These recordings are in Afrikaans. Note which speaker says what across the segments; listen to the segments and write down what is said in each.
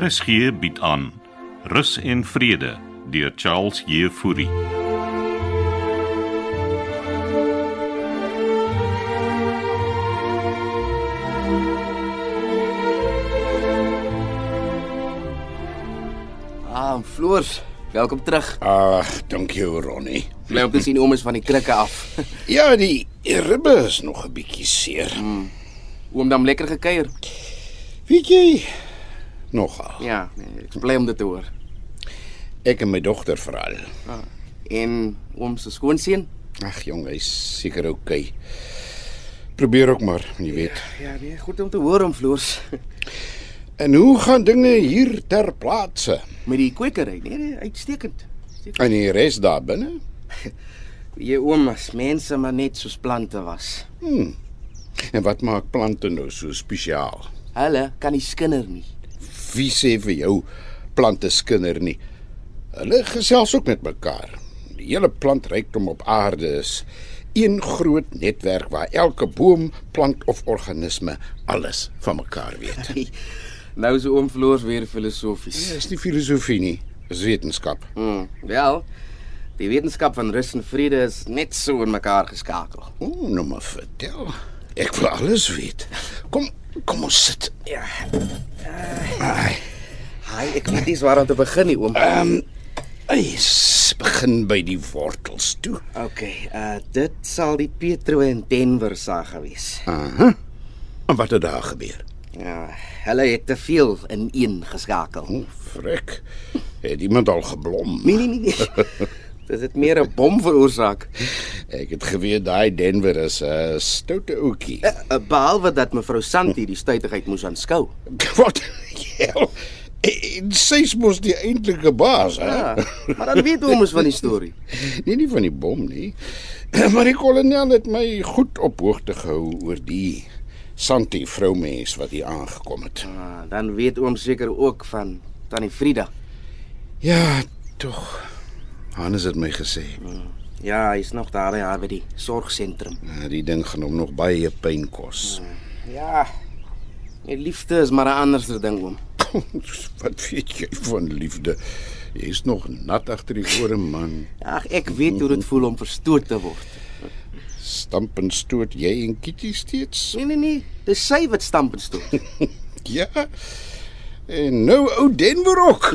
Speaker 1: RSG bied aan Rus en Vrede deur Charles Jefouri.
Speaker 2: Ah, Floors, welkom terug.
Speaker 3: Ag, dankie Ronnie.
Speaker 2: Bly om te sien ooms van die krikke af.
Speaker 3: Ja, die ribbe is nog 'n bietjie seer.
Speaker 2: Oom dan lekker gekuier.
Speaker 3: Weet jy nogal.
Speaker 2: Ja, nee, ek is bly om dit te hoor.
Speaker 3: Ek en my dogter veral.
Speaker 2: En oom se skoonseun?
Speaker 3: Ag jong, hy's seker oukei. Okay. Probeer ook maar, jy weet.
Speaker 2: Ja, nee, goed om te hoor oom Floors.
Speaker 3: En hoe gaan dinge hier ter plaatse?
Speaker 2: Met die kwekery, nee, nee, uitstekend. Uitstekend.
Speaker 3: En die res daar binne?
Speaker 2: Jy oom as mense maar net soos plante was.
Speaker 3: En wat maak plante nou so spesiaal?
Speaker 2: Hulle kan nie skinder nie.
Speaker 3: Wie sê vir jou plante skinder nie? Hulle gesels ook met mekaar. Die hele plantrykdom op aarde is een groot netwerk waar elke boom, plant of organisme alles van mekaar weet.
Speaker 2: nou is oom Floors weer filosofies.
Speaker 3: Dis nie filosofie nie, dis wetenskap.
Speaker 2: Hmm, wel, die wetenskap van rus en vrede is net so in mekaar geskakel.
Speaker 3: O, oh, nou maar vertel. Ek wil alles weet. Kom, kom ons sit.
Speaker 2: Ja,
Speaker 3: Ai,
Speaker 2: hy ek weet nie waar om te begin nie oom.
Speaker 3: Ehm, eis begin by die wortels toe.
Speaker 2: Okay, uh dit sal die Petro in Denver saak gewees.
Speaker 3: Aha. En wat het daar gebeur?
Speaker 2: Ja, hulle het te veel in een geskakel.
Speaker 3: O, frek. Het iemand al geblom?
Speaker 2: Nee nee nee. nee. Dit het meer 'n bom veroorsaak.
Speaker 3: Ek het geweet daai Denver is 'n stoute ouetjie.
Speaker 2: Eh, eh, Behalwe dat mevrou Santi die stuitigheid moes aanskou.
Speaker 3: Wat? Hel. En Sy's mos die eintlike baas, hè?
Speaker 2: Ja, maar dan weet hom ons van die storie.
Speaker 3: Nee, nie van die bom nie. Maar die kolonel het my goed op hoogte gehou oor die Santi vroumens wat hier aangekom het.
Speaker 2: Ah, dan weet oom seker ook van tannie Frida.
Speaker 3: Ja, tog. Hannes het my gesê,
Speaker 2: Ja, hy's nog daar ja, by die sorgsentrum.
Speaker 3: "Ah, die ding gaan hom nog baie pyn kos.
Speaker 2: Ja. Die liefde is maar 'n ander ding oom.
Speaker 3: Wat weet jy van liefde? Jy's nog nat agter die ore, man.
Speaker 2: Ag, ek weet hoe dit voel om verstoot te word.
Speaker 3: Stamp en stoot jy en Kitty steeds?
Speaker 2: Nee nee nee, dis sy wat stamp en stoot.
Speaker 3: Ja. En nou ou Denver ook.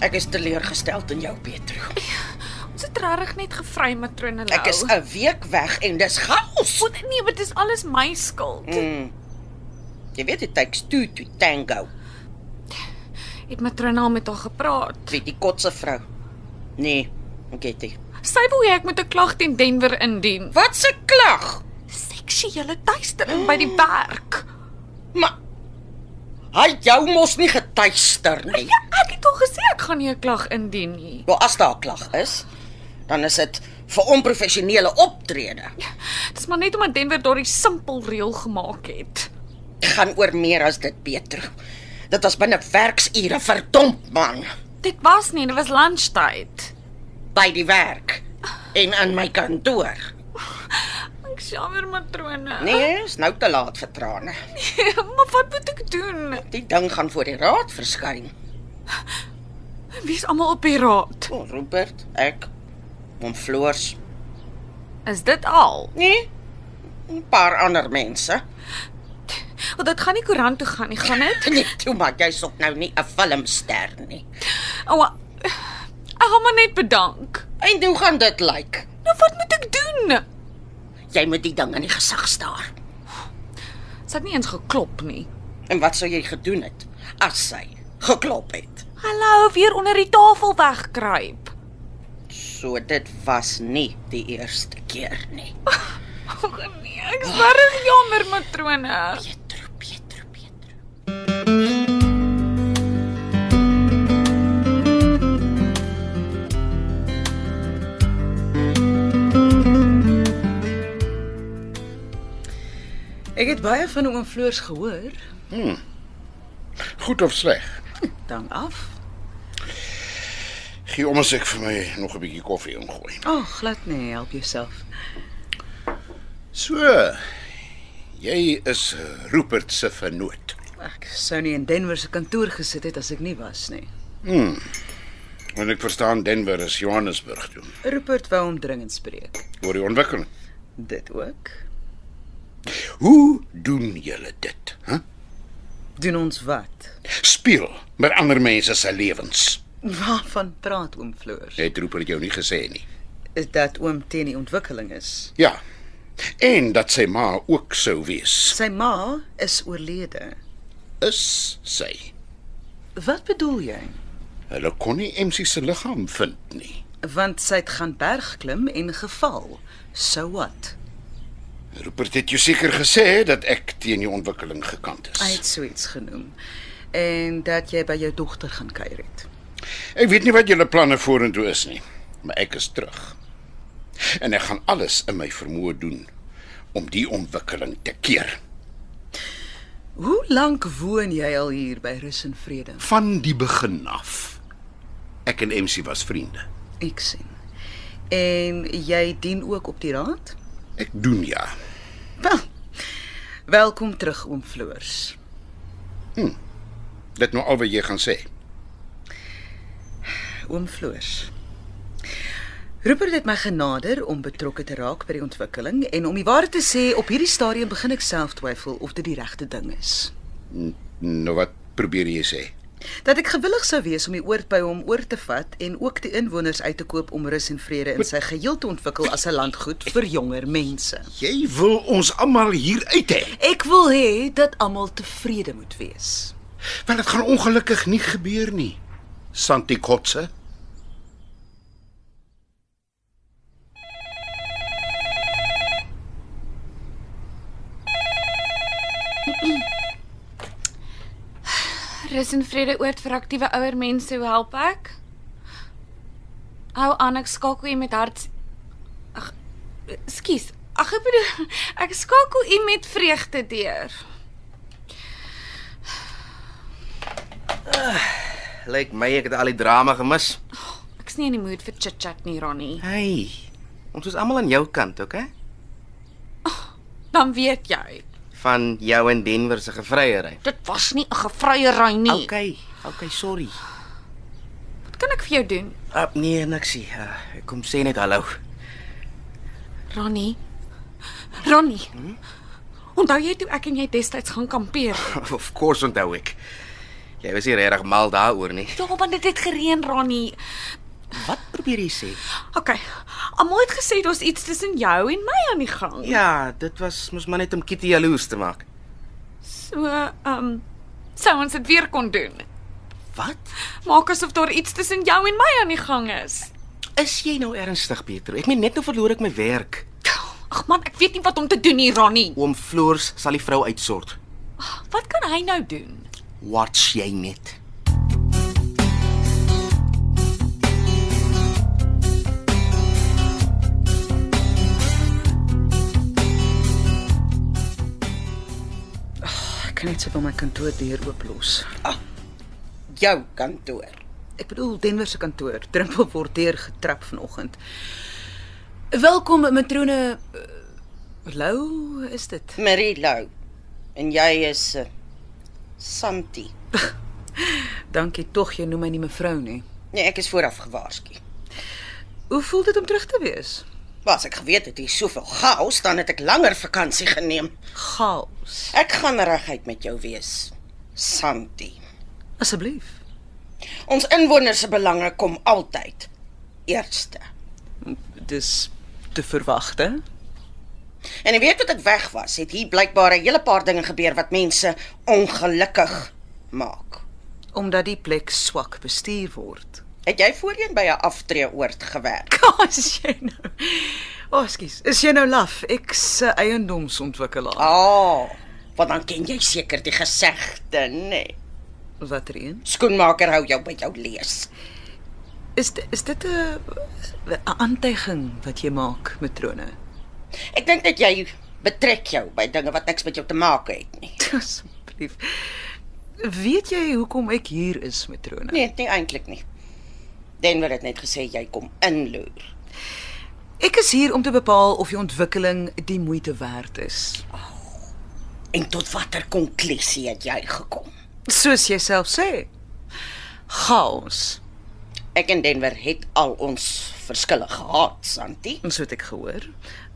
Speaker 4: Ek is teleurgesteld in jou, Petro.
Speaker 5: Ons het regtig net gevry matrone Lou.
Speaker 4: Ek is 'n week weg en dis chaos.
Speaker 5: Wat nee, maar dis alles my skuld.
Speaker 4: Mm. Jy weet dit takes two to tango.
Speaker 5: Het matrone al met haar gepraat.
Speaker 4: Weet die kotse vrou. Nee, ek weet dit.
Speaker 5: Sy wil hê ek moet 'n klag teen Denver indien.
Speaker 4: Wat 'n klag.
Speaker 5: Seksuele teistering by die werk.
Speaker 4: Maar hy het jou mos nie getuister nie.
Speaker 5: Ja, ek het al gesê ek gaan nie 'n klag indien nie.
Speaker 4: Wel as daar 'n klag is, dan is dit vir onprofessionele optrede.
Speaker 5: Dis maar net omdat Denver daardie simpel reël gemaak het.
Speaker 4: Dit gaan oor meer as dit, Petro. Dit was binne werksure, verdomp man,
Speaker 5: Dit was nie, dit was lunchtyd.
Speaker 4: by die werk en in my kantoor.
Speaker 5: Ek jammer matrone.
Speaker 4: Nee, is nou te laat vir trane.
Speaker 5: maar wat moet ek doen?
Speaker 4: Die ding gaan voor die raad verskyn.
Speaker 5: Wie's almal op die raad?
Speaker 4: O, oh, Robert, ek hom floors.
Speaker 5: Is dit al?
Speaker 4: Nee. 'n Paar ander mense.
Speaker 5: Want dit gaan nie koerant toe gaan nie, gaan dit?
Speaker 4: Nee, toe maak jy sop nou nie 'n filmster nie.
Speaker 5: Ouma, Oh, ek gaan maar net bedank.
Speaker 4: En hoe gaan dit lyk? Like?
Speaker 5: Nou wat moet ek doen?
Speaker 4: Jy moet die ding in die gesig staar.
Speaker 5: Sy het nie eens geklop nie.
Speaker 4: En wat sou jy gedoen het as sy geklop het?
Speaker 5: Hallo, weer onder die tafel wegkruip.
Speaker 4: So dit was nie die eerste keer nie.
Speaker 5: O nee, ek's regtig jammer matrone.
Speaker 4: Pietro, Pietro, Pietro.
Speaker 6: Ek het baie van oom Floors gehoor.
Speaker 3: Goed of sleg?
Speaker 6: Dan af.
Speaker 3: Gee om as ek vir my nog 'n bietjie koffie ingooi.
Speaker 6: Ag, oh, glad nee, help jouself.
Speaker 3: So, jy is Rupert se vernoot.
Speaker 6: Ek sou nie in Denver se kantoor gesit het as ek nie was nie.
Speaker 3: En ek verstaan Denver is Johannesburg toe
Speaker 6: Rupert wou hom dringend spreek.
Speaker 3: oor die ontwikkeling.
Speaker 6: Dit ook.
Speaker 3: Hoe doen julle dit? Hæ?
Speaker 6: Doen ons wat?
Speaker 3: Speel met ander mense se lewens.
Speaker 6: Waarvan praat oom Floors?
Speaker 3: Het Rupert jou nie gesê nie.
Speaker 6: Is dat oom teen die ontwikkeling is?
Speaker 3: Ja. En dat sy ma ook sou wees.
Speaker 6: Sy ma is oorlede.
Speaker 3: Is sy.
Speaker 6: Wat bedoel jy?
Speaker 3: Hulle kon nie MC se liggaam vind nie.
Speaker 6: Want sy het gaan bergklim en geval. So what?
Speaker 3: Rupert het jou seker gesê dat ek teen die ontwikkeling gekant
Speaker 6: Hy
Speaker 3: is.
Speaker 6: het so iets genoem. En dat jy by jou dogter gaan kuier het.
Speaker 3: Ek weet nie wat julle planne vorentoe is nie, maar ek is terug. En ek gaan alles in my vermoë doen om die ontwikkeling te keer.
Speaker 6: Hoe lank woon jy al hier by Rus en Vrede?
Speaker 3: Van die begin af. Ek en MC was vriende.
Speaker 6: Ek sien. En jy dien ook op die raad?
Speaker 3: Ek doen ja.
Speaker 6: Wel. Welkom terug oom Floors.
Speaker 3: Dit nou al wat jy gaan sê.
Speaker 6: Oom Floors. Rupert het my genader om betrokke te raak by die ontwikkeling en om die waarheid te sê, op hierdie stadium begin ek self twyfel of dit die regte ding is.
Speaker 3: Nou wat probeer jy sê?
Speaker 6: Dat ek gewillig sou wees om die oord by hom oor te vat en ook die inwoners uit te koop om rus en vrede in sy geheel te ontwikkel as 'n landgoed vir jonger mense.
Speaker 3: Jy wil ons almal hier uit hê.
Speaker 6: Ek wil hê dat almal tevrede moet wees.
Speaker 3: Wel dit gaan ongelukkig nie gebeur nie. Santi Kotse.
Speaker 5: Rus en vrede oort vir aktiewe ouer mense, hoe help ek? Hou aan, ek skakel u met hart. Ag, skus. Ag ek bedoel, ek skakel u met vreugde deur.
Speaker 2: Lyk my ek het al die drama gemis.
Speaker 5: Ek's nie in die mood vir chit-chat nie, Ronnie.
Speaker 2: Hey. Ons is almal aan jou kant, okay?
Speaker 5: Dan weet jy,
Speaker 2: Van jou en Denver se gevryery.
Speaker 5: dit was nie 'n gevryery nie.
Speaker 2: Okay, okay, sorry.
Speaker 5: Wat kan ek vir jou doen?
Speaker 2: Uh, nee, niksie. Uh, ek kom sê net hallo.
Speaker 5: Ronnie. Ronnie. Onthou jy toe ek en jy destyds gaan kampeer?
Speaker 2: of course onthou ek. Jy was nie regtig mal daaroor nie.
Speaker 5: Ja, want dit het gereën, Ronnie.
Speaker 2: Wat probeer jy sê?
Speaker 5: OK. Almal het gesê daar's iets tussen jou en my aan die gang.
Speaker 2: Ja, dit was mos maar net om Kitty jaloers te maak.
Speaker 5: So, ehm um, sou ons dit weer kon doen.
Speaker 2: Wat?
Speaker 5: Maak asof daar iets tussen jou en my aan die gang is.
Speaker 2: Is jy nou ernstig, Pietro? Ek meen net nou verloor ek my werk.
Speaker 5: Ag man, ek weet nie wat om te doen hier, Ronnie.
Speaker 2: Oom Floors sal die vrou uitsort.
Speaker 5: Wat kan hy nou doen?
Speaker 2: Watch jy net.
Speaker 6: Ek kan net so by my kantoor deur ooplos.
Speaker 4: Jou kantoor.
Speaker 6: Ek bedoel Denver se kantoor, drempel word deur getrap vanoggend. Welkom matrone eh, Lou, is dit?
Speaker 4: Marie Lou. En jy is uh, Santi.
Speaker 6: Dankie tog jy noem my nie mevrou nie.
Speaker 4: Nee, ek is vooraf gewaarsku.
Speaker 6: Hoe voel dit om terug te wees?
Speaker 4: Was ek geweet het hier soveel chaos, dan het ek langer vakansie geneem.
Speaker 6: Chaos.
Speaker 4: Ek gaan reguit met jou wees. Santi.
Speaker 6: Asseblief.
Speaker 4: Ons inwoners se belange kom altyd eerste.
Speaker 6: Dis te verwagte.
Speaker 4: En jy weet wat ek weg was, het hier blykbaar 'n hele paar dinge gebeur wat mense ongelukkig maak.
Speaker 6: Omdat die plek swak bestuur word.
Speaker 4: Het jy voorheen by 'n aftreeoord gewerk?
Speaker 6: Kaas jy nou. O, oh, skus. Is jy nou laf? Ek se eiendomsontwikkelaar.
Speaker 4: Ja, oh, want dan ken jy seker die gesegde, nê. Nee.
Speaker 6: Watter er een?
Speaker 4: Skoenmaker hou jou by jou lees.
Speaker 6: Is di- is dit 'n 'n aantuiging wat jy maak, matrone?
Speaker 4: Ek dink dat jy betrek jou by dinge wat niks met jou te maak het nie.
Speaker 6: Asseblief. Weet jy hoekom ek hier is, matrone?
Speaker 4: Nee, nie eintlik nie. Denver het net gesê jy kom inloer.
Speaker 6: Ek is hier om te bepaal of die ontwikkeling die moeite werd is.
Speaker 4: En tot watter konklusie het jy gekom?
Speaker 6: Soos jy self sê. Chaos,
Speaker 4: Ek en Denver het al ons verskille gehad, Santi.
Speaker 6: ons het ek gehoor.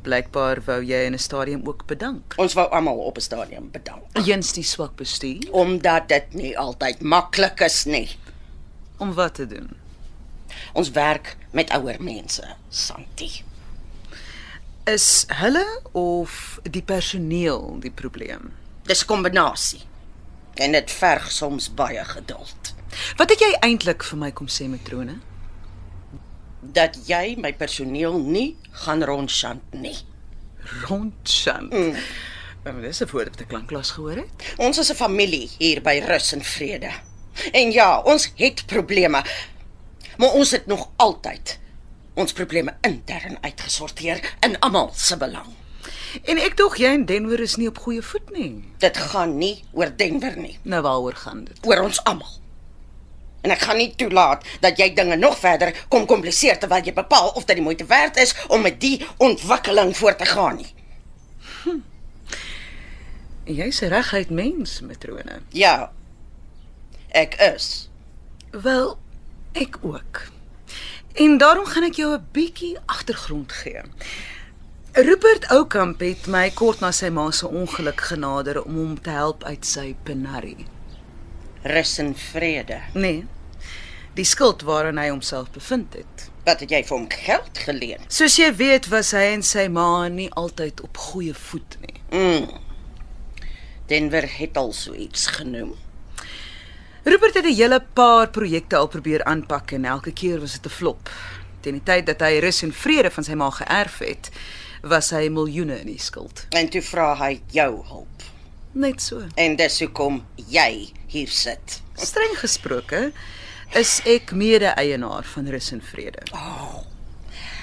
Speaker 6: Blykbaar wou jy in 'n stadium ook bedank.
Speaker 4: Ons wou almal op 'n stadium bedank
Speaker 6: Jens die swak bestuur
Speaker 4: omdat dit nie altyd maklik is nie.
Speaker 6: om wat te doen.
Speaker 4: Ons werk met ouer mense, Santi.
Speaker 6: Is hulle of die personeel die probleem?
Speaker 4: Dis 'n kombinasie. En dit verg soms baie geduld.
Speaker 6: Wat het jy eintlik vir my kom sê matrone?
Speaker 4: Dat jy my personeel nie gaan rondchant nie.
Speaker 6: Rondchant. Mm. Dis 'n woord wat ek lanklaas gehoor het.
Speaker 4: Ons is 'n familie hier by Rus en Vrede. En ja, ons het probleme. Maar ons het nog altyd ons probleme intern uitgesorteer in almal se belang.
Speaker 6: En ek dog jy en Denver is nie op goeie voet nie.
Speaker 4: Dit gaan nie oor Denver nie,
Speaker 6: Nou waaroor gaan dit?
Speaker 4: oor ons almal. En ek gaan nie toelaat dat jy dinge nog verder kom kompliseer terwyl jy bepaal of dit die moeite werd is om met die ontwikkeling voort te gaan nie.
Speaker 6: Jy's 'n reguit mens, matrone.
Speaker 4: Ja. Ek is.
Speaker 6: Wel, ek ook. En daarom gaan ek jou 'n bietjie agtergrond gee. Rupert Oukamp het my kort na sy ma se ongeluk genader om hom te help uit sy penarie.
Speaker 4: Rus en Vrede.
Speaker 6: Nee. Die skuld waarin hy homself bevind het.
Speaker 4: Wat het jy vir hom geld geleen?
Speaker 6: Soos jy weet, was hy en sy ma nie altyd op goeie voet nie.
Speaker 4: Hmm. Denver het al so iets genoem.
Speaker 6: Rupert het 'n hele paar projekte al probeer aanpak en elke keer was dit 'n flop. Teen die tyd dat hy rus en vrede van sy ma geërf het, was hy miljoene in die skuld.
Speaker 4: En toe vra hy jou hulp.
Speaker 6: Net so.
Speaker 4: En dis hoekom jy hier sit.
Speaker 6: Streng gesproke is ek mede-eienaar van Rus en Vrede.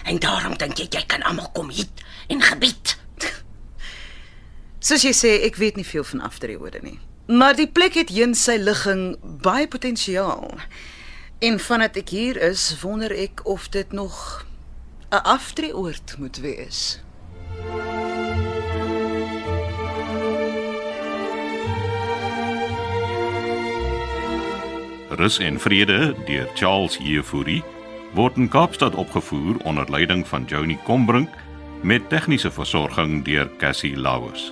Speaker 4: En daarom dink jy jy kan almal kom hit en gebied.
Speaker 6: Soos jy sê, ek weet nie veel van afdrieorde nie. Maar die plek het heen sy ligging baie potensiaal. En vandat ek hier is, wonder ek of dit nog 'n afdrieoord moet wees.
Speaker 1: Rus en Vrede deur Charles Jefouri word in Kaapstad opgevoer onder leiding van Johnny Combrink met tegniese versorging deur Cassie Lauers.